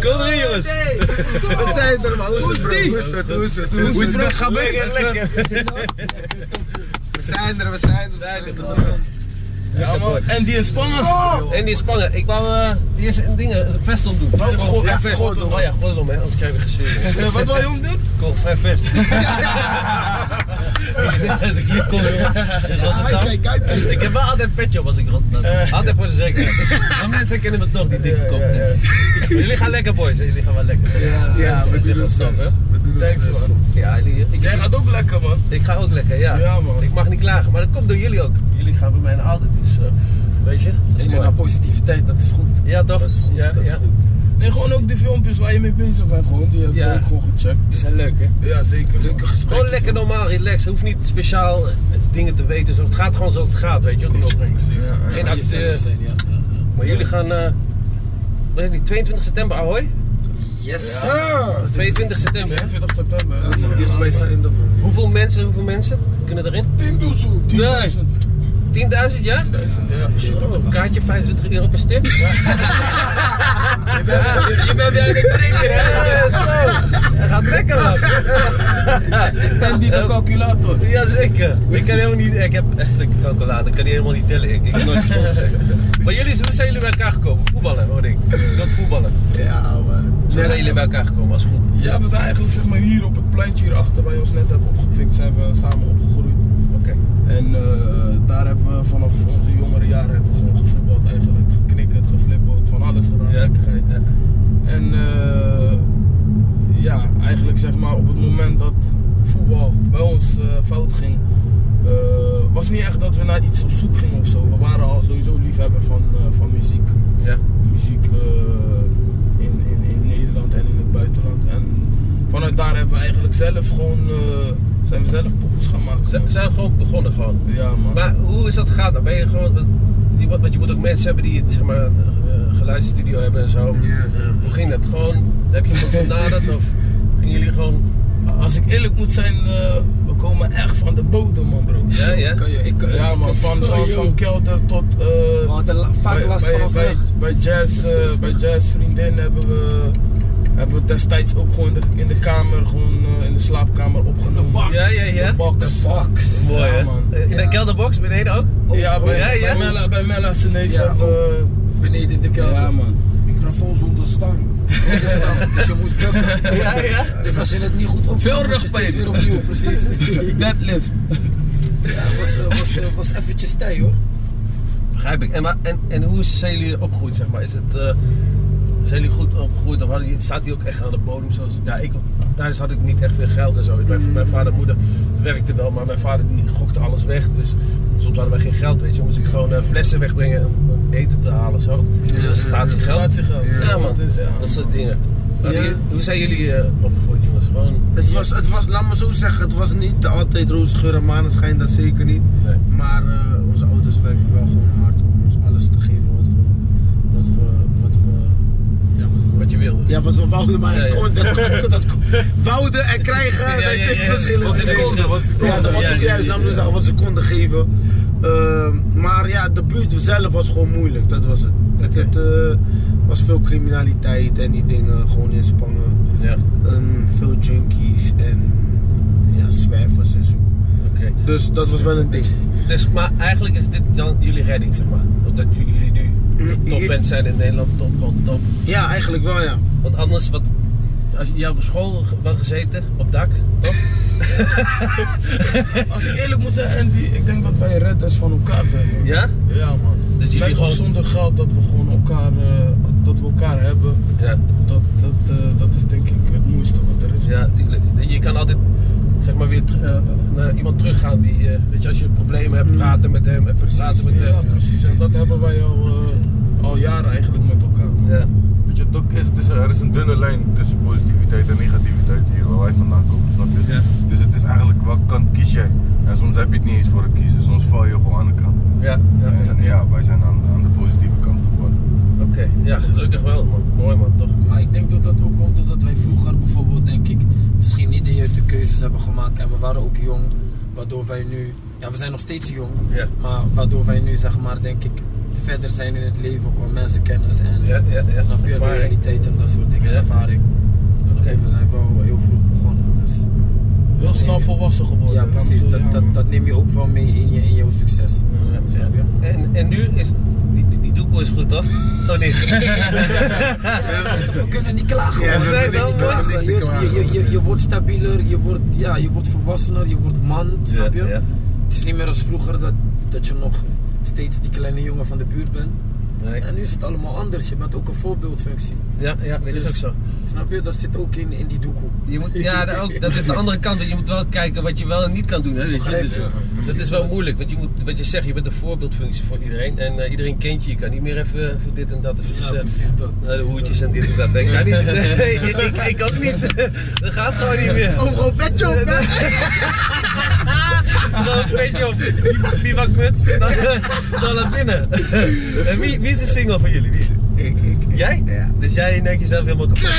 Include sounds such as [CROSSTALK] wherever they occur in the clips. Kom erin jongens. Wat zei je er maar? Hoe is het, Hoe is bro? die? Hoe is het? Hoe is het? Hoe is Hoe is het, het? bro? bro? Ga weg. Lekker, lekker. We zijn er, we zijn er. Ja, man. En die in Spangen. En die in Spangen. Ik wou eh, die is dingen, een vest om doen. Oh, goh, ja, vest. gooi het om. Oh ja, gooi het om, hè, anders krijg je [LAUGHS] gezien. Eh, Wat wil je om doen? Koop mijn vest. Als ik hier kom, jongen. Kijk, kijk, kijk. Ik heb wel altijd een petje op als ik rond ben. Altijd voor de zekerheid. Maar mensen kennen me toch, die dikke kop. denk ik. Jullie gaan lekker, boys. hè. Jullie gaan wel lekker. Ja, we doen ons best. We doen ons Thanks, best. man. Ja, jullie, ik, Jij gaat ook lekker, man. ik ga ook lekker, ja. Ja, man. Ik mag niet klagen, maar dat komt door jullie ook. Jullie gaan bij mij naar altijd, dus eh, weet je. dat is En mooi. naar positiviteit, dat is goed. Ja, toch? Dat is goed, ja, dat is ja. goed. Nee, gewoon ook die filmpjes waar je mee bezig bent, gewoon. Die heb ik Ja. ook gewoon gecheckt. Die zijn leuk, hè? Ja, zeker. Leuke gesprekken. Gewoon lekker normaal, relaxed. Hoeft niet speciaal eh, dingen te weten. Zo. Het gaat gewoon zoals het gaat, weet je. wat ik bedoel? Geen Ja, jezelf acteur. zijn, ja, ja, ja. Maar jullie gaan, eh weet ik niet, 22 september, ahoy? Yes, Ja. sir! 22 september, hè? 22 september. Dat is het dichtst bij zijn in de room. Hoeveel mensen, hoeveel mensen kunnen erin? Tindoezoe. Nee. 10.000, ja? Ja, shit. Een kaartje, 25 euro per [LAUGHS] stuk. Je bent- je- je bent weer aan het [LAUGHS] drinken, hè? Dat gaat lekker, man. [LAUGHS] Ik ben die de calculator. Jazeker. Ik kan helemaal niet, ik heb echt een calculator. Ik kan die helemaal niet tellen. Ik, ik heb nooit gesproken, zeg. [LAUGHS] Maar jullie, hoe zijn jullie bij elkaar gekomen? Voetballen, hoor ik. Dat voetballen. Ja, man. Zo zijn jullie bij elkaar gekomen als groep. Ja, we zijn eigenlijk zeg maar hier op het pleintje hierachter waar je ons net hebt opgepikt, zijn we samen opgegroeid. Oké. En eh, daar hebben we vanaf onze jongere jaren hebben we gewoon gevoetbald eigenlijk. Geknikkerd, geflipperd, van alles gedaan, Ja. gekkigheid. Ja. En eh, ja, eigenlijk zeg maar op het moment dat voetbal bij ons eh, fout ging, eh, was niet echt dat we naar iets op zoek gingen of zo. We waren al sowieso liefhebber van, eh, van muziek Ja. muziek eh, in, in, in Nederland en in het buitenland. En vanuit daar hebben we eigenlijk zelf gewoon, eh, zijn we zelf poppels gaan maken. Ze man. we zijn gewoon begonnen gewoon. Ja man. Maar hoe is dat gegaan? Dan ben je gewoon, want je moet- want je moet ook mensen hebben die zeg maar, een eh, geluidsstudio hebben en zo. Ja, ja. Hoe ging dat? Gewoon, heb je iemand benaderd of gingen jullie gewoon... Als ik eerlijk moet zijn, eh, we komen echt van de bodem man bro. Ja, ja. Kan je, ik, kan- Ja man, van, van, van kelder tot... eh, We hadden la- vaak bij- last bij, van ons bij, weg. bij jazz, eh, bij jazz vriendin hebben we, hebben we destijds ook gewoon in de, in de kamer, gewoon eh, in de slaapkamer opgenomen. box. Ja, ja, ja. De box. Fox. Mooi, hè? In de kelderbox beneden ook? Oh, Ja, bij, ja, ja. bij Mella, bij Mella zijn neef Ja, oh. zat, eh, Beneden in de kelder. ja man. Microfoon zonder stang. Dus je moest [LAUGHS] bukken. Ja, ja. Dus als je het niet goed op Veel rugpijn. rugpijn. weer opnieuw, precies. Deadlift. Ja, was, eh, was, eh, was eventjes tijd hoor. Begrijp ik. En, maar, en, en hoe zijn jullie opgegroeid, zeg maar? Is het, eh, zijn jullie goed opgegroeid of hadden jullie, zaten jullie ook echt aan de bodem? Zoals, ja, ik, thuis had ik niet echt veel geld en zo. Mijn, mijn vader en moeder werkten wel, maar mijn vader die gokte alles weg. Dus soms hadden wij geen geld, weet je. Dan moest ik gewoon eh, flessen wegbrengen om, om eten te halen of zo. dat is statiegeld. Statiegeld. Ja, man. Dat soort dingen. Maar Ja. die- hoe zijn jullie eh, opgegroeid, jongens? Gewoon... Het was, het was, laat me zo zeggen, het was niet altijd roosgeur en maneschijn, dat zeker niet. Nee. Maar eh, onze ouders werkten wel gewoon hard om ons alles te geven wat we, wat we, wat we, ja, wat we Wat je wilde. Ja, wat we wouden, maar Ja, ja. Kon, dat, kon, dat kon- Wouden en krijgen, Ja, zijn ja, twee ja, ja. verschillende Wat ze dingen. konden, wat ze Ja, konden. dat wat Ja, ze- ja, juist, ja, laten we ja. zeggen, wat ze konden geven. Ehm, maar ja, de buurt zelf was gewoon moeilijk, dat was het. Het, het, eh, was veel criminaliteit en die dingen, gewoon in Spangen. Ja, Ehm, veel junkies en ja, zwervers en zo. oké. Dus dat was wel een ding. Dus, maar eigenlijk is dit dan jullie redding, zeg maar. Omdat j- jullie nu Mm, top bent zijn in Nederland, top, gewoon top. Ja, eigenlijk wel ja. Want anders, wat, als je jou op school ge- wel gezeten, op dak, toch? Als ik eerlijk moet zijn, Andy, ik denk dat wij redders van elkaar zijn. man. Ja? Ja, man. Dus jullie Met of gewoon- zonder geld dat we gewoon elkaar, eh, dat we elkaar hebben, Ja, dat, dat, eh, dat is denk ik het mooiste wat er is. ja tuurlijk. Je kan altijd, zeg maar, weer ter- eh, naar iemand teruggaan die, eh, weet je, als je problemen Mm. hebt, praten met hem, even praten met ja, hem. precies. En dat hebben wij al, eh, al jaren eigenlijk met elkaar. man. Ja, Weet je, het ook is, het is- er is een dunne lijn tussen positiviteit en negativiteit hier waar wij vandaan komen, snap je? Ja. Dus het is eigenlijk welke kant kies jij? En soms heb je het niet eens voor het kiezen, soms val je gewoon aan de kant. ja, ja. ja. En ja, wij zijn aan, aan de positieve kant gevallen. Oké, ja, gelukkig wel, man. Mooi, man, toch? Maar ik denk dat dat ook komt doordat wij vroeger bijvoorbeeld, denk ik, misschien niet de juiste keuzes hebben gemaakt. En we waren ook jong, waardoor wij nu, ja we zijn nog steeds jong, Ja. maar waardoor wij nu zeg maar, denk ik, verder zijn in het leven qua mensenkennis en Ja, ja, ja. snap je, Ervaring. realiteit en dat soort dingen, Ja. ervaring. Snap je, Oké. we zijn wel heel vroeg begonnen, dus Heel snel volwassen geworden. ja laat me precies, Oh, zo dat, zeggen, dat, man. dat neem je ook wel mee in, je, in jouw succes. Snap je? En, en nu is. Die, die, die doekoe is goed, toch? [LAUGHS] Oh niet? We kunnen niet klagen. Ja, hoor. we Nee, kunnen dan niet wel. klagen, niks te Je- klagen. Je, je, je, je wordt stabieler, je wordt, ja, je wordt volwassener, je wordt man, [LAUGHS] snap je? ja. Het is niet meer als vroeger dat, dat je nog steeds die kleine jongen van de buurt bent. Nee. En nu is het allemaal anders, je bent ook een voorbeeldfunctie. Ja, ja, dat is Dus- ook zo. Snap je? Dat zit ook in, in die doekoe. Je moet, ja, daar ook, dat is de andere kant. want Je moet wel kijken wat je wel en niet kan doen. Hè, weet je? Begrijp Dus, je? dat is wel moeilijk. Want je moet, wat je zegt, je bent een voorbeeldfunctie voor iedereen. En eh, iedereen kent je. Je kan niet meer even voor dit en dat. Even, eh, dat. naar de hoertjes en dit en dat. Ik kan niet. [LAUGHS] Nee, ik, ik, ik ook niet. [LAUGHS] Dat gaat gewoon niet meer. Om gewoon Oh, petje op, hè? [LAUGHS] Gewoon een beetje op. Wie- Wie maakt muts? Dan, dan naar binnen. [LAUGHS] En wie, wie is de single van jullie? Wie? Ik, ik. Jij? Ja. Dus jij neukt jezelf helemaal [LAUGHS] kapot.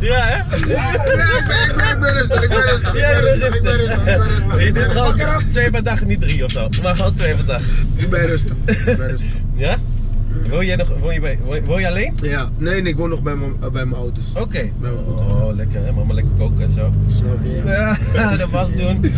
Ja, hè? Ja, ik ben- ik ben- ik ben rustig, ik ben rustig. Ja, je bent Ik ben rustig. rustig, ik ben rustig. Je doet gewoon twee per dag, niet drie of zo. Maar gewoon twee per dag. Ik ben rustig. Ik ben rustig. Ja? Woon jij, nog, woon je, bij, woon, woon je alleen? [LAUGHS] Ja. Nee, nee, ik woon nog bij mijn eh, bij mijn ouders. Oké. mijn moeder. Oh, lekker. Hè? Mama lekker koken en zo. Snap je? Ja, [LAUGHS] de was doen.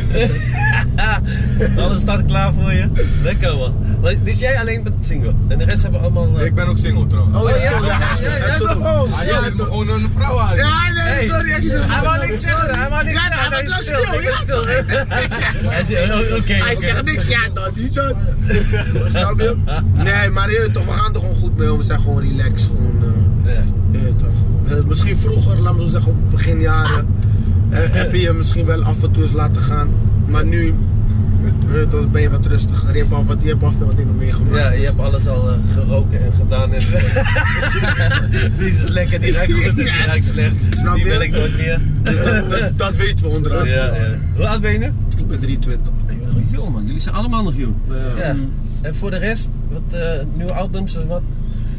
[LAUGHS] Alles staat klaar voor je. Lekker man. Maar Dus jij alleen bent single. En de rest hebben allemaal... eh, Ik ben ook single trouwens. Oh ja, ja, ja, ja, ja, ja, ja. sorry. Oh, Ah, ja, sorry. je moet gewoon een vrouw aan. Ja, nee, sorry. ik zit- Hij wou niks zeggen, hij wou niks Ja, zeggen. nou, hij is was ook stil, hij is [LAUGHS] Hij zei, oh, oké, oké. Hij zegt niks, ja dat, niet dat. Snap je? Nee, maar je weet toch, we gaan er gewoon goed mee om. We zijn gewoon relaxed. Gewoon, eh, Ja. je weet toch. Eh, misschien vroeger, laat me zo zeggen, op beginjaren. eh, heb je je misschien wel af en toe eens laten gaan. Maar nu je weet toch, ben je wat rustiger. Je hebt al, wat, je hebt al veel dingen meegemaakt. Ja, je dus- hebt alles al eh, geroken en gedaan. [LAUGHS] En [LAUGHS] die is lekker, die ruikt goed en die Ja. ruikt slecht. Snap die je? wil ik nooit meer. dus dat, dat, dat weten we Ja, onderhand. ja. Hoe oud ben je nu? Ik ben 23. Je bent nog jong man, jullie zijn allemaal nog jong. Ja. Ja. En voor de rest, wat eh, nieuwe albums en wat?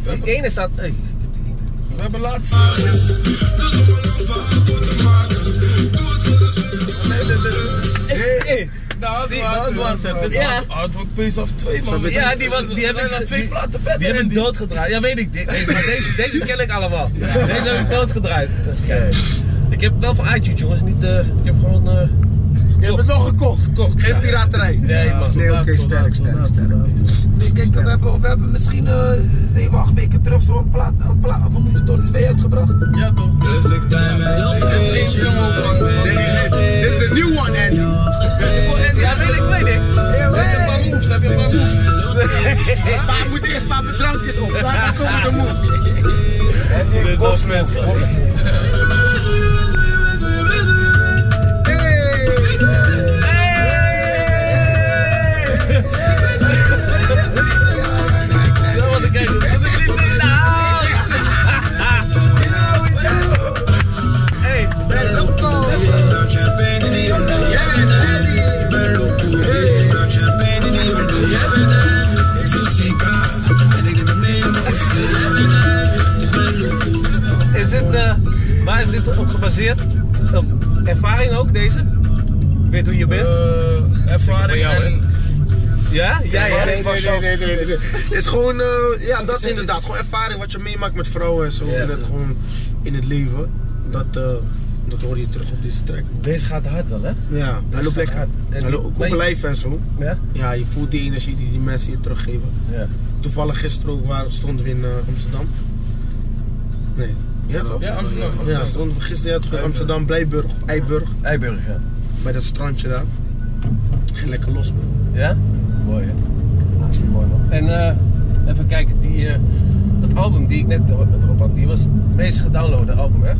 Die ene staat... Hey, ik heb die ene. We hebben laatst. Hey, hey. Nou, Die- die was dat was was het. Dit is Ja. hard- Hardwork Pace af 2, man. Ja, die, was- die hebben bijna twee platen verder. Die en hebben ik doodgedraaid. Ja, weet ik. De- Deze, maar [LAUGHS] deze, deze ken ik allemaal. Deze heb ik doodgedraaid. Even kijken. Ik heb het wel van iTunes, jongens. Niet, eh, ik heb gewoon eh, Je hebt het wel gekocht. gekocht. Geen Ja. piraterij. Nee, man. Nee, oké, sterk, sterk, sterk. Nee, kijk, we hebben, we hebben misschien eh, zeven, acht weken terug zo'n plaat, een plaat, we moeten door twee uitgebracht. Ja, toch. Het is één single van. Dit van- is- Dit is de new one, Andy. Ja, weet ik, weet ik. Heb je een paar moves? Heb je een paar moves? Pa moet eerst pa mijn drankjes op. Daarna komen de [LAUGHS] moves. Dit was mensen. Hey! Ja, want ik kijk het. Dat is niet meer nou. [LAUGHS] Hey, Ben loco! is dit, eh, waar is dit op gebaseerd? Op ervaring ook, deze? Weet hoe je bent? Eh, Ervaring jou, hè? en. Ja? Ja, ja. Nee, nee, nee, nee, nee. Het is gewoon, eh, ja, dat inderdaad. Gewoon ervaring wat je meemaakt met vrouwen en zo. En het gewoon in het leven. Dat, eh, dat hoor je terug op deze track. Deze gaat hard wel, hè? Ja, hij gaat loopt lekker. hard. En Hij die- loopt ook maar op je- lijf en zo. Ja? Ja, je voelt die energie die die mensen je teruggeven. Ja. Toevallig gisteren ook waar, stonden we in eh, Amsterdam. Nee. Ja, toch? Ja, Amsterdam. Ja, stonden we gisteren ja, toch in Amsterdam, Blijburg of Eiburg. Eiburg, ja. Bij dat strandje daar. Ging lekker los, man. Ja? Mooi, hè? Hartstikke mooi, man. En eh, even kijken, die, eh, dat album die ik net erop had, die was het meest gedownloade album, hè?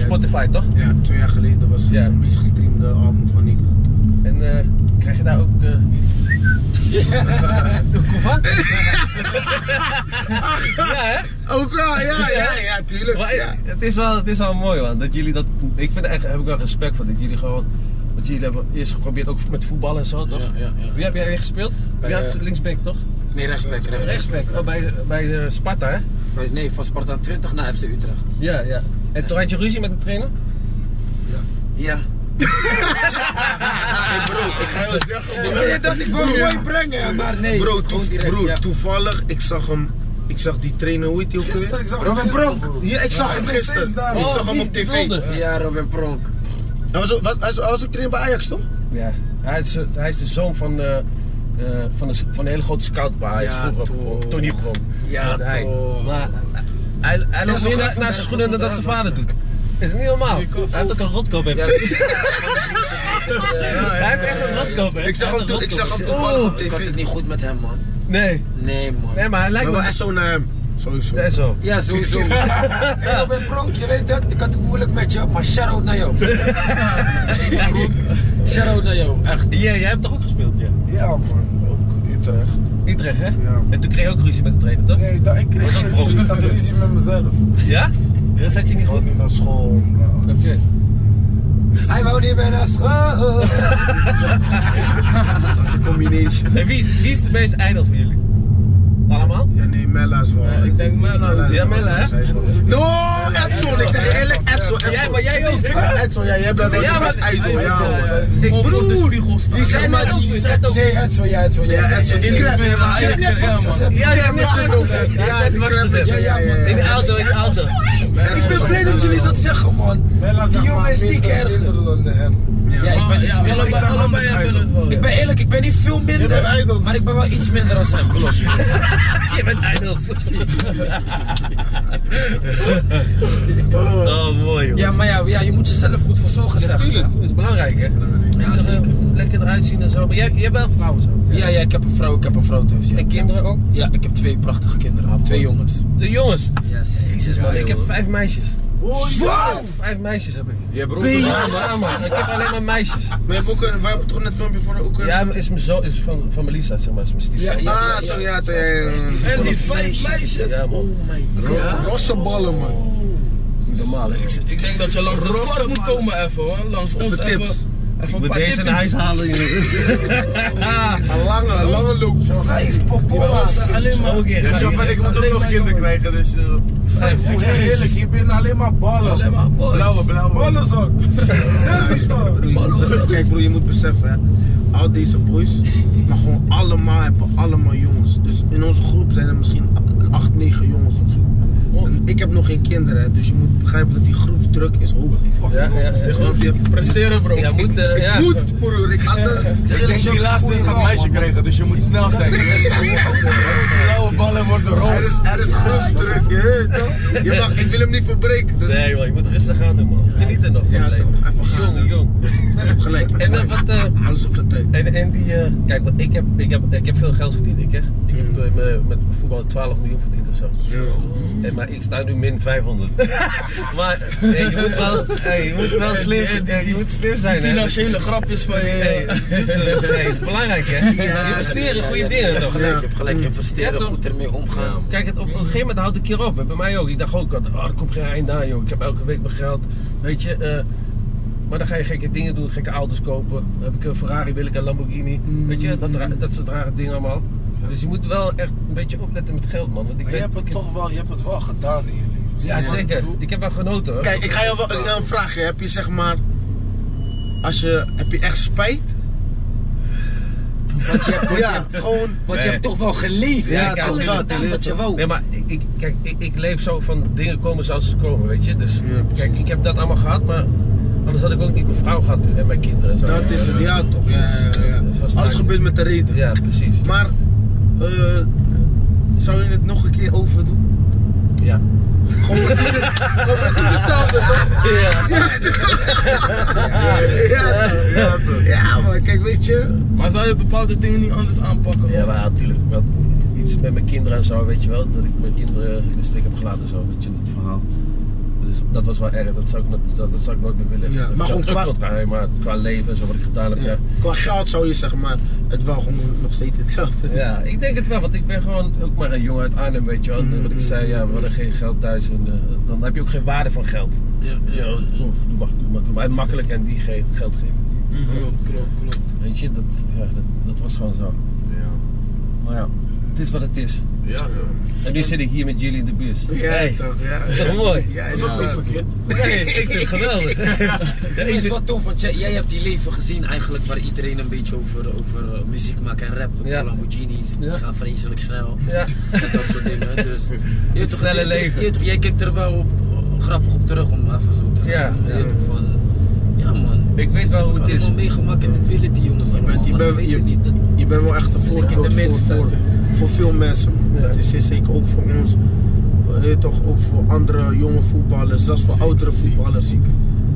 Spotify, toch? Ja, twee jaar geleden was het Ja. de meest gestreamde album van Nederland. En eh, krijg je daar ook... eh Hoe van? ja, hè? Ook wel, Oh, ja, ja, ja, tuurlijk. Maar eh, ja. het, is wel, het is wel mooi, man. Dat jullie dat... Ik vind er echt, heb ik wel respect voor, dat jullie gewoon... Want jullie hebben eerst geprobeerd, ook met voetbal en zo, toch? Ja, ja, ja. Wie heb jij gespeeld? Bij, ja, eh, linksback, toch? Nee, rechtsback, rechtsback. Rechtsback. Oh, bij, bij eh, Sparta, hè? Nee, van Sparta 20 naar FC Utrecht. Ja, ja. En toen had je ruzie met de trainer? Ja. Hey bro, ik ga jou alles weg. Ik wil je dat ik wil Broer. mooi brengen, maar nee. Bro, toe- gewoon direct, broer ja. toevallig, ik zag hem. Ik zag die trainer, hoe heet die ook Gisteren, weer? ik zag Bro, hem Bronk. gisteren, broer. Ja, ik zag Hij is hem nog steeds gisteren. daar, Ik broer. Oh, zag hem op tv. Hij Ja, Robin Pronk. was, ook- was, hij was- hij was ook trainer bij Ajax, toch? Ja. Hij is, eh, hij is de zoon van, eh, eh, van, een, van een hele grote scout bij Ajax Ja, vroeger. toch. Tony Pronk. Ja, Dat hij. toch. Maar hij, hij loopt zo meer gaat na- Van naar zijn Berg schoenen dan dat zijn vandaan, vader doet. Is het niet normaal? Hij heeft ook een rotkop. hè. [LAUGHS] Ja, Hij heeft echt een rotkop, hè? Ik zag Hij hem, heeft toe- ik een zag hem rotkop. toevallig op ik had tv. het niet goed met hem, man. Nee, Nee, man. nee, maar hij lijkt Maar wel me echt eh, zo naar hem. Sowieso. Dat is zo. Ja, sowieso. [LAUGHS] hey, Robin Pronk, je weet dat, ik had het moeilijk met je, maar shout-out naar jou. [LAUGHS] shout-out naar jou, echt. Ja, jij hebt toch ook gespeeld, ja? Ja, man. Ook Utrecht. Utrecht, hè? Ja. En toen kreeg je ook ruzie met de trainer, toch? Nee, daar, ik kreeg Was dat geen Bronk? ruzie. Ik had ruzie met mezelf. Ja? Dat zat je niet Ik goed. wou niet naar school. nou. Oké. Hij wou niet meer naar school. Dat is een combination. En wie is, wie is de meest ijdel van jullie? Allemaal? Ja, nee, Mella is wel. Ja, ik denk Mella. is Ja, wel- Mella, hè? zij is wel- No, Edson. Ik zeg je eerlijk, Edson. Edson. Jij, maar jij ook. Edson, ja, jij bent wel Ja, de maar- best idol. Ja, hoor. Ik broer, die zijn zijn maar- maar ons verzet ook. Nee, het zo, ja, het zo, ja. Ja, Edson, die crap. Ja, maar- Ik heb net wat gezegd. Ja, jij hebt niks Ja, gezegd. die Ja, crap niks met gezegd. je, ja, ja, ja. In de auto, in de auto. Ik ben blij dat jullie dat zeggen, man. Mella Die zegt jongen maar is minder- dikke erger. minder dan hem. Ja, ik ben iets Ja, minder. allebei, allebei hebben het wel. Ik ja. ben eerlijk, ik ben niet veel Je bent minder, ijdel. maar ik ben wel iets minder als hem, klopt. Je bent ijdels. Oh, mooi, joh. Ja, maar ja, ja je moet jezelf goed voor zorgen, zeg. Tuurlijk, dat is belangrijk, hè? Lekker, eh, Lekker eruit zien en zo. Maar jij, jij hebt wel vrouwen zo. Ja, ja, ik heb een vrouw, ik heb een vrouw thuis. Ja, En kinderen ook? ja ik heb twee prachtige kinderen, twee jongens. De jongens. Yes. Jezus, man, ik heb vijf meisjes. Wow! Vijf meisjes heb ik. Je hebt ook een- nou? Ja, maar, man. Ik heb alleen maar meisjes. Maar je hebt ook een- wij hebben toch net een filmpje voor ook een... Ja, maar is, mijn zo, is van, van Melissa, zeg maar, is mijn stiefzoon. Ja, Ah, zo ja, ja, ja. ja. En die vijf meisjes. Ja, man. Ro- Rosse ballen, man. Niet normaal, hè. Ik, ik denk dat je langs de Rosse stad moet ballen. komen even hoor. Langs ons tips. even. Even een Moet paar deze naar huis tipjes. halen, [LAUGHS] jongen. Een lange, een lange loop. Vijf popo's. Alleen maar. Oké, Dus ja, van ik moet ook Alleen nog maar kinderen jongen. krijgen, dus... eh, Vijf. Ik zeg eerlijk, je bent alleen maar Alleen ballen. maar boys. Blauwe, blauwe. Ballenzak. Dat is toch. Broer, Kijk broer, je moet beseffen, hè. al deze boys, maar gewoon allemaal hebben allemaal jongens. Dus in onze groep zijn er misschien 8, 9 jongens of zo. Oh. En ik heb nog geen kinderen, hè, dus je moet begrijpen dat die groepsdruk is hoog. Ja, ja, ja. Je gelooft, je hebt- Presteren bro. Ja, moet, eh, Ik ja. moet, broer, ik anders. Ik denk die laatste gaat een meisje krijgen, dus je moet snel [LAUGHS] zijn. Blauwe ballen worden Er is, rood. er is groepsdruk, je weet toch? Je mag, ik wil hem niet verbreken, dus Nee, man, je moet rustig aan doen, man. Geniet er nog van Ja, het leven. toch, even gaan, hè. Jong, jong. je hebt gelijk. je hebt En eh, gelijk. wat... eh, Alles op zijn tijd. En, en die, eh, kijk, want ik heb, ik, heb, ik heb veel geld verdiend, ik hè. Ik heb eh, me- met voetbal 12 miljoen verdiend of zo. Mm. En, maar ik sta nu min 500. [LAUGHS] maar nee, je moet wel, hey, je moet wel slim, Die- die- eh, je moet slim zijn, hè. Financiële grapjes eh, van je. Hey, nee, het is belangrijk, hè. Investeren, goede dingen Je hebt toch. gelijk, je Ja. hebt gelijk. Investeren, Ja, toch? goed ermee omgaan. Kijk, het, op, op een gegeven moment houdt het een keer op. hè. Bij mij ook. Ik dacht ook, altijd, ah, er komt geen eind aan, joh. Ik heb elke week mijn geld. Weet je, eh, maar dan ga je gekke dingen doen, gekke auto's kopen. Dan heb ik een Ferrari, wil ik een Lamborghini. Weet je, Mm. dat, dra- dat soort rare dingen allemaal. Dus je moet wel echt een beetje opletten met geld, man. Want ik Maar je ben, hebt het toch wel, je hebt het wel gedaan in je leven. Ja, Snap je wat ik zeker. bedoel? Ik heb wel genoten, hoor. Kijk, ik ga jou wel ik ga een vraag. Heb je zeg maar. Als je, heb je echt spijt? Want je hebt, want je, Ja, gewoon. want je Nee. hebt toch wel geleefd. Ja, Ja, kijk, alles dat- gedaan wat je wou. Nee, maar ik- ik, kijk, ik, ik leef zo van dingen komen zoals ze komen, weet je. Dus Ja, precies. kijk, ik heb dat allemaal gehad, maar anders had ik ook niet mijn vrouw gehad nu en mijn kinderen. En zo. Dat is het, ja toch? Ja, ja, ja, ja. Zo sta Alles ik. gebeurt met de reden. Ja, precies. Maar, eh, zou je het nog een keer overdoen? Ja. Gewoon precies het- gewoon precies hetzelfde, toch? Ja. Ja, toch? ja, toch? ja, maar kijk, weet je. Maar zou je bepaalde dingen niet anders aanpakken? Ja, maar natuurlijk wel iets met mijn kinderen en zo, weet je wel. Dat ik mijn kinderen in de steek heb gelaten en zo, weet je, dat verhaal. Dus dat was wel erg, dat zou ik, nooit- dat, dat zou ik nooit meer willen. Ja, maar Dat- gewoon dat qua- klopt wel, hè, maar qua leven en zo wat ik gedaan heb, ja. Ja. Qua geld zou je zeg maar. Het wel gewoon nog steeds hetzelfde. Ja, ik denk het wel, want ik ben gewoon ook maar een jongen uit Arnhem, weet je wel. Mhm, En Wat ik zei, ja, we hadden geen geld thuis en eh, dan heb je ook geen waarde van geld. Ja, Weet je wel, kom, doe maar, doe maar, doe maar. En makkelijk en die geen geld geven. Klopt, klopt, klopt. Weet je, dat, ja, dat, dat was gewoon zo. Ja. Maar ja, het is wat het is. Ja, En nu zit ik hier met jullie in de bus. Ja, Hey. toch, ja. Toch mooi? Ja, is ook Ja. niet verkeerd. Nee, ik vind het geweldig. Ja, Het ik is vind- wat tof, want jij, jij hebt die leven gezien eigenlijk waar iedereen een beetje over, over eh, muziek maakt en rapt. Op Ja. de Lamborghinis, Ja. die gaan vreselijk snel. Ja. en Dat soort dingen. Dus, je weet toch, snelle je- je- leven. je weet toch, jij kijkt er wel op, eh, grappig op terug om even zo Ja, te zeggen. Je ja. weet toch, Van, ja man. Ik weet wel hoe Ik het heb is. allemaal meegemaakt en ik wil het die jongens allemaal, bent- je maar ze bent- weten niet. Dat, Je bent wel echt een voorbeeld in de voor, midden voor, voor veel mensen. Ja. Dat is zeker ook voor ons. Eh, weet je toch ook voor andere jonge voetballers, zelfs voor oudere voetballers.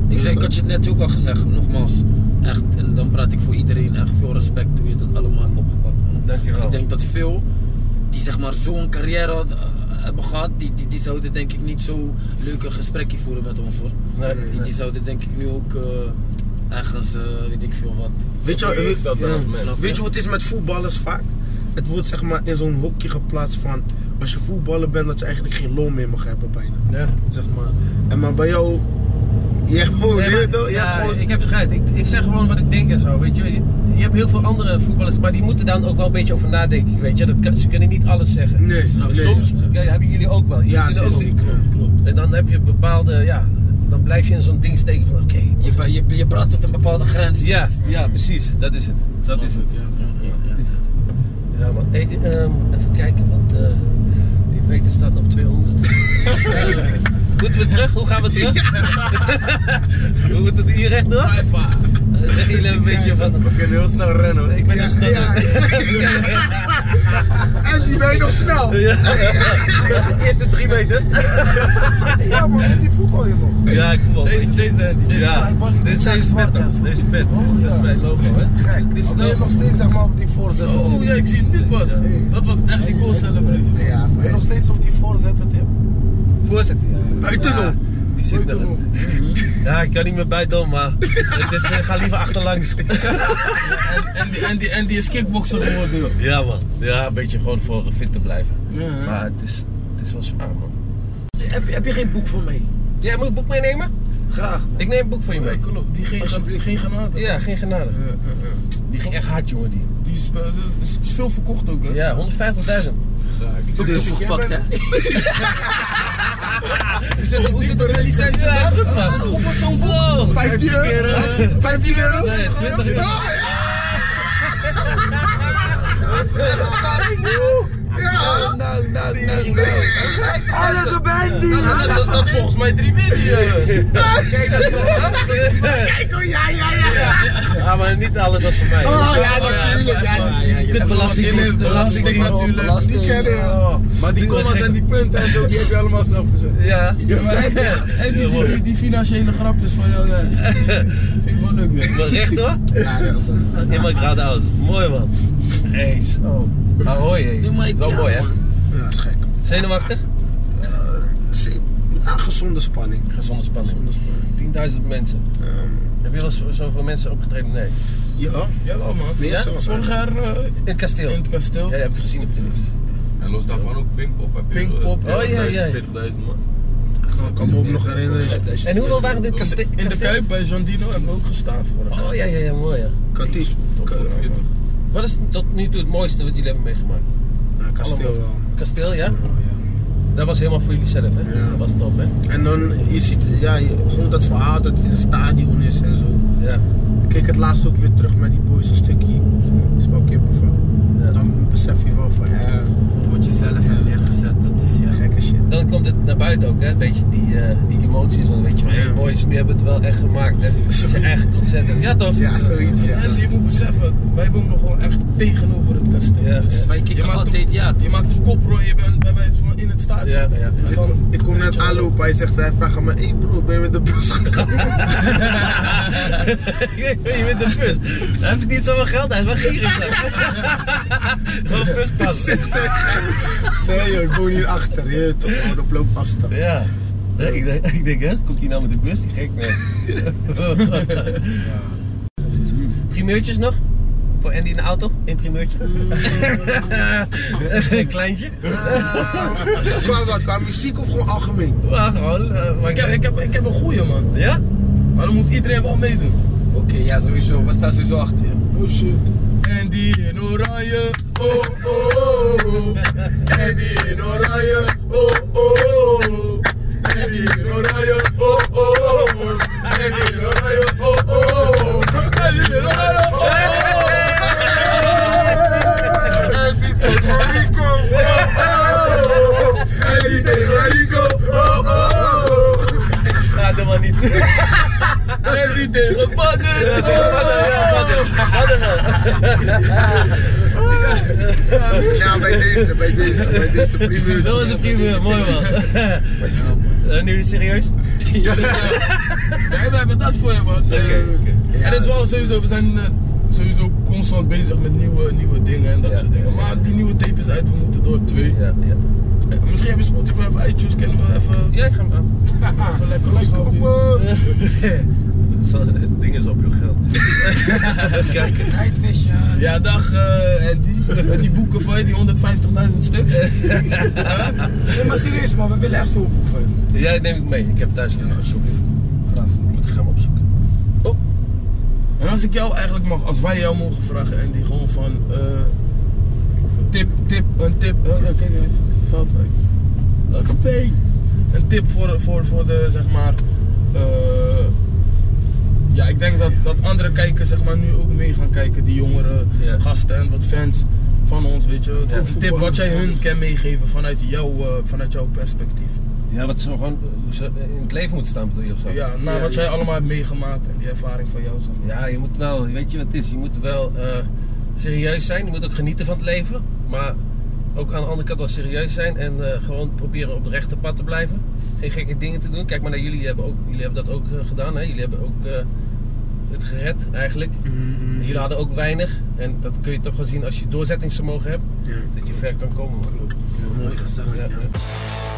ik, zei, ik had je het net ook al gezegd, nogmaals. Echt, en dan praat ik voor iedereen echt veel respect hoe je dat allemaal hebt opgepakt. man. Dankjewel. Ik denk dat veel die zeg maar zo'n carrière had- eh, hebben gehad, die, die, die zouden denk ik niet zo leuk een gesprekje voeren met ons hoor. Nee, Die, die zouden denk ik nu ook eh, ergens, eh, weet ik veel wat. Weet je, Hoe is dat dan ja. als mens? weet je hoe het is met voetballers vaak? Het wordt zeg maar in zo'n hokje geplaatst van als je voetballer bent dat je eigenlijk geen loon meer mag hebben bijna. Ja. Zeg maar. En maar bij jou, je hebt gewoon, Nee, weet je maar- toch? Je ja, hebt gewoon ik heb scheid. Ik, ik zeg gewoon wat ik denk en zo. Weet je, je, je hebt heel veel andere voetballers, maar die moeten dan ook wel een beetje over nadenken. Weet je, dat kan- ze kunnen niet alles zeggen. Nee, Maar nee. soms ja, hebben jullie ook wel. Jullie Ja, kunnen ook- zeker. Klopt. En dan heb je bepaalde, ja, dan blijf je in zo'n ding steken van oké. Je, pa- je, je praat tot een bepaalde grens. Ja, ja, precies. Dat is het. Dat is het. Ja, ja, ja. Dat is het. Ja, man. Hey, ehm, even kijken, want eh, die meter staat op 200. Eh, Moeten we terug? Hoe gaan we terug? Hoe moet het hier rechtdoor? Eh, Zeggen jullie een beetje van... we kunnen heel snel rennen hoor. Ik ben Ja, een snel. ja. en die ben je nog snel. Eerste drie meter? Ja, maar met die voetbal je nog. Ja, ik voel wel. Deze, deze en die. Deze. Ja, dit is deze pet dan. Deze pet. Dat is mijn logo, hè? Kijk, dit is Nee, logo. nog steeds zeg maar op die voorzet. Oh ja, ik zie het dit pas. Dat was echt die goal celebration. Ja, Nog steeds op die voorzetten tip. Voorzitter, ja. Buitenom. Ja, Die zit er. Ja, ik kan niet meer buitenom, maar... Het is, eh, ga liever achterlangs. En, en, die, en, die, en die is kickboxer geworden, joh. [LAUGHS] Ja, man. Ja, een beetje gewoon voor fit te blijven. Ja, hè? Maar het is, het is wel zwaar, man. Heb, heb je geen boek voor mij? Jij moet een boek meenemen? Graag. Ik neem een boek van je Ja, mee. klopt. Die geen, Alsjeblieft. geen granaten. Ja, geen genade. Ja, ja, ja. Die ging echt hard, jongen, die. Die is, eh, is- is veel verkocht ook, hè? Ja, 150.000. Ik heb Dus- het opgepakt hè. Hoe zit- Hoe zit het met die centjes? Ja, hè? goed, man. Hoeveel zo'n boek? 15 15 euro. 15 euro? Nee, 20 euro. Ja. Nou, nou, nou, nou. Alles op Andy! Dat, dat, dat is volgens mij drie meer die... eh, Ja, ja, ja. Ja, maar niet alles was voor mij. Oh ja, Oh, ja, natuurlijk. even- Ja, even- Je kunt belasting- Even- belasting belasting- natuurlijk. die kennen. Maar die commas en die punten en zo, die heb je allemaal zelf gezet. Ja. Ja, maar- En die, die, die, die financiële grapjes van jou, [LAUGHS] ja. Vind ik wel leuk, joh. Maar recht hoor. Ja, ja. In mijn geradeaus. Mooi man. Hey, Oh. zo. Ahoy, hey. Doe maar iets, Wel ja, mooi, hè? man. Ja, dat is gek. Zenuwachtig? Zin- Ja, gezonde spanning. Gezonde spanning. Gezonde spanning. 10.000 mensen. Ehm, Heb je wel eens zoveel mensen opgetreden? Nee. ja. Jawel, man. Nee, Ja? zo. Vorig jaar eh, In het kasteel. in Ja, het kasteel. dat heb ik gezien op televisie. En los daarvan ook Pinkpop. heb je, eh, Pinkpop, ja. Oh, ja, ja. 40.000 man. Ik kan me ook nog herinneren. En hoeveel waren dit in het kaste- In de kasteel? Kuip bij Jandino hebben we ook gestaan voor elkaar. Oh ja, ja, ja, mooi ja. Katief. Top Ka- 40. Wat is tot nu toe het mooiste wat jullie hebben meegemaakt? Ja, kasteel wel. Kasteel, ja? Dat was helemaal voor jullie zelf, hè? Ja. Dat was top, hè? En dan, je ziet, ja, je- gewoon dat verhaal dat het in een stadion is en zo. Ja. Ik keek het laatst ook weer terug met die boys een stukje. Dat is wel kippenvel. Ja. Dan besef je wel van, ja, Word je zelf hebt neergezet, dat is ja. gekke shit. Dan komt het naar buiten ook, hè? Een beetje die, eh, die emoties. Dan weet je van, hey Ja. boys, nu hebben we het wel echt gemaakt, hè? [LAUGHS] Dat is je eigen concert. hebben. Ja, toch? Ja, zoiets, ja. En je moet beseffen, wij wonen gewoon echt tegenover het kasteel. Ja, Dus ja. Wij kijken maakt altijd, een, ja. Je maakt een kop, hoor, je bent bij wijze van in het stadion. Ja, ja. [LAUGHS] En Ik, dan- [LAUGHS] kom- ik kom net aanlopen, hij zegt, hij vraagt aan me, hey bro, ben je met de bus gekomen? je bent een bus. Hij heeft niet zoveel geld, hij is wel gierig. dan. [LAUGHS] Gewoon buspas. [LAUGHS] nee joh, ik woon hier achter, je weet toch, gewoon op loopafstand. Ja. Nee, ik, denk, ik denk, hè, komt hij nou met de bus? Die gek man. [LAUGHS] Primeurtjes nog? Voor Andy in de auto? Eén [LAUGHS] primeurtje? Een kleintje? [LAUGHS] Qua wat, qua muziek of gewoon algemeen? Maar gewoon. eh, maar Ik heb, ik, heb, ik heb een goeie, man. Ja? [LAUGHS] Maar dan moet iedereen wel meedoen. Oké, ja, sowieso. We staan sowieso achter je. Oh shit. Hé, Andy in oranje. Oh, oh, oh, oh. Andy in oranje. Oh, oh, oh, oh. Andy in oranje. Oh, oh, oh, oh. Andy in oranje. Oh, oh, oh, oh. Andy in oranje. Oh, oh, oh, oh. Andy tegen Rico. Oh, oh, oh, oh. Andy tegen Rico. Oh, oh, oh, oh. Ja, doe maar [LAUGHS] niet. Andy tegen Badden. Oh, oh, oh. [LAUGHS] Ja, bij deze, bij deze, bij deze primeur. Dat was een primeur, mooi man. [LAUGHS] Eh, nu serieus? Ja, we hebben dat voor je, man. Eh, En dat is wel sowieso, we zijn eh, sowieso constant bezig met nieuwe, nieuwe dingen en dat Ja, soort dingen. ja, ja. Maar die nieuwe tape is uit, we moeten door twee. Ja, ja. Eh, Misschien hebben Spotify of iTunes, kunnen we even, Ja, ik ga hem aan. even lekker loskopen. Zo, [LAUGHS] het Ding is op je geld. [LAUGHS] Kijk, Tijdvisje. Ja, dag eh Andy. [LAUGHS] Met die boeken van je, die 150.000 stuks. Nee, maar serieus man, we willen echt zo'n boek van je. jij neem ik mee. Ik heb thuis een zoek. Graag. Goed, ik ga hem opzoeken. En als ik jou eigenlijk mag, als wij jou mogen vragen, Andy, gewoon van... eh, tip, tip, een tip. Oh, ja, kijk even. Valt mee. Leuk thee. Een tip voor, voor, voor de, zeg maar... eh, ja, ik denk dat, dat andere kijkers zeg maar, nu ook mee gaan kijken. Die jongere Ja. gasten en wat fans van ons, weet je. Ja. Een tip wat jij hun kan meegeven vanuit, jou, eh, vanuit jouw perspectief. Ja, wat ze gewoon hoe ze in het leven moeten staan, bedoel je of zo? Ja, na wat jij allemaal hebt meegemaakt en die ervaring van jou. Zeg maar. Ja, je moet wel, weet je wat het is? Je moet wel eh, serieus zijn, je moet ook genieten van het leven, maar ook aan de andere kant wel serieus zijn en eh, gewoon proberen op de rechte pad te blijven. Geen gekke dingen te doen. Kijk maar naar jullie, jullie hebben, ook, jullie hebben dat ook eh, gedaan, hè? jullie hebben ook eh, het gered eigenlijk. Hmm. Jullie hadden ook weinig en dat kun je toch wel zien als je doorzettingsvermogen hebt, dat je ver kan komen. man. Mooi gezegd. Ja, ja.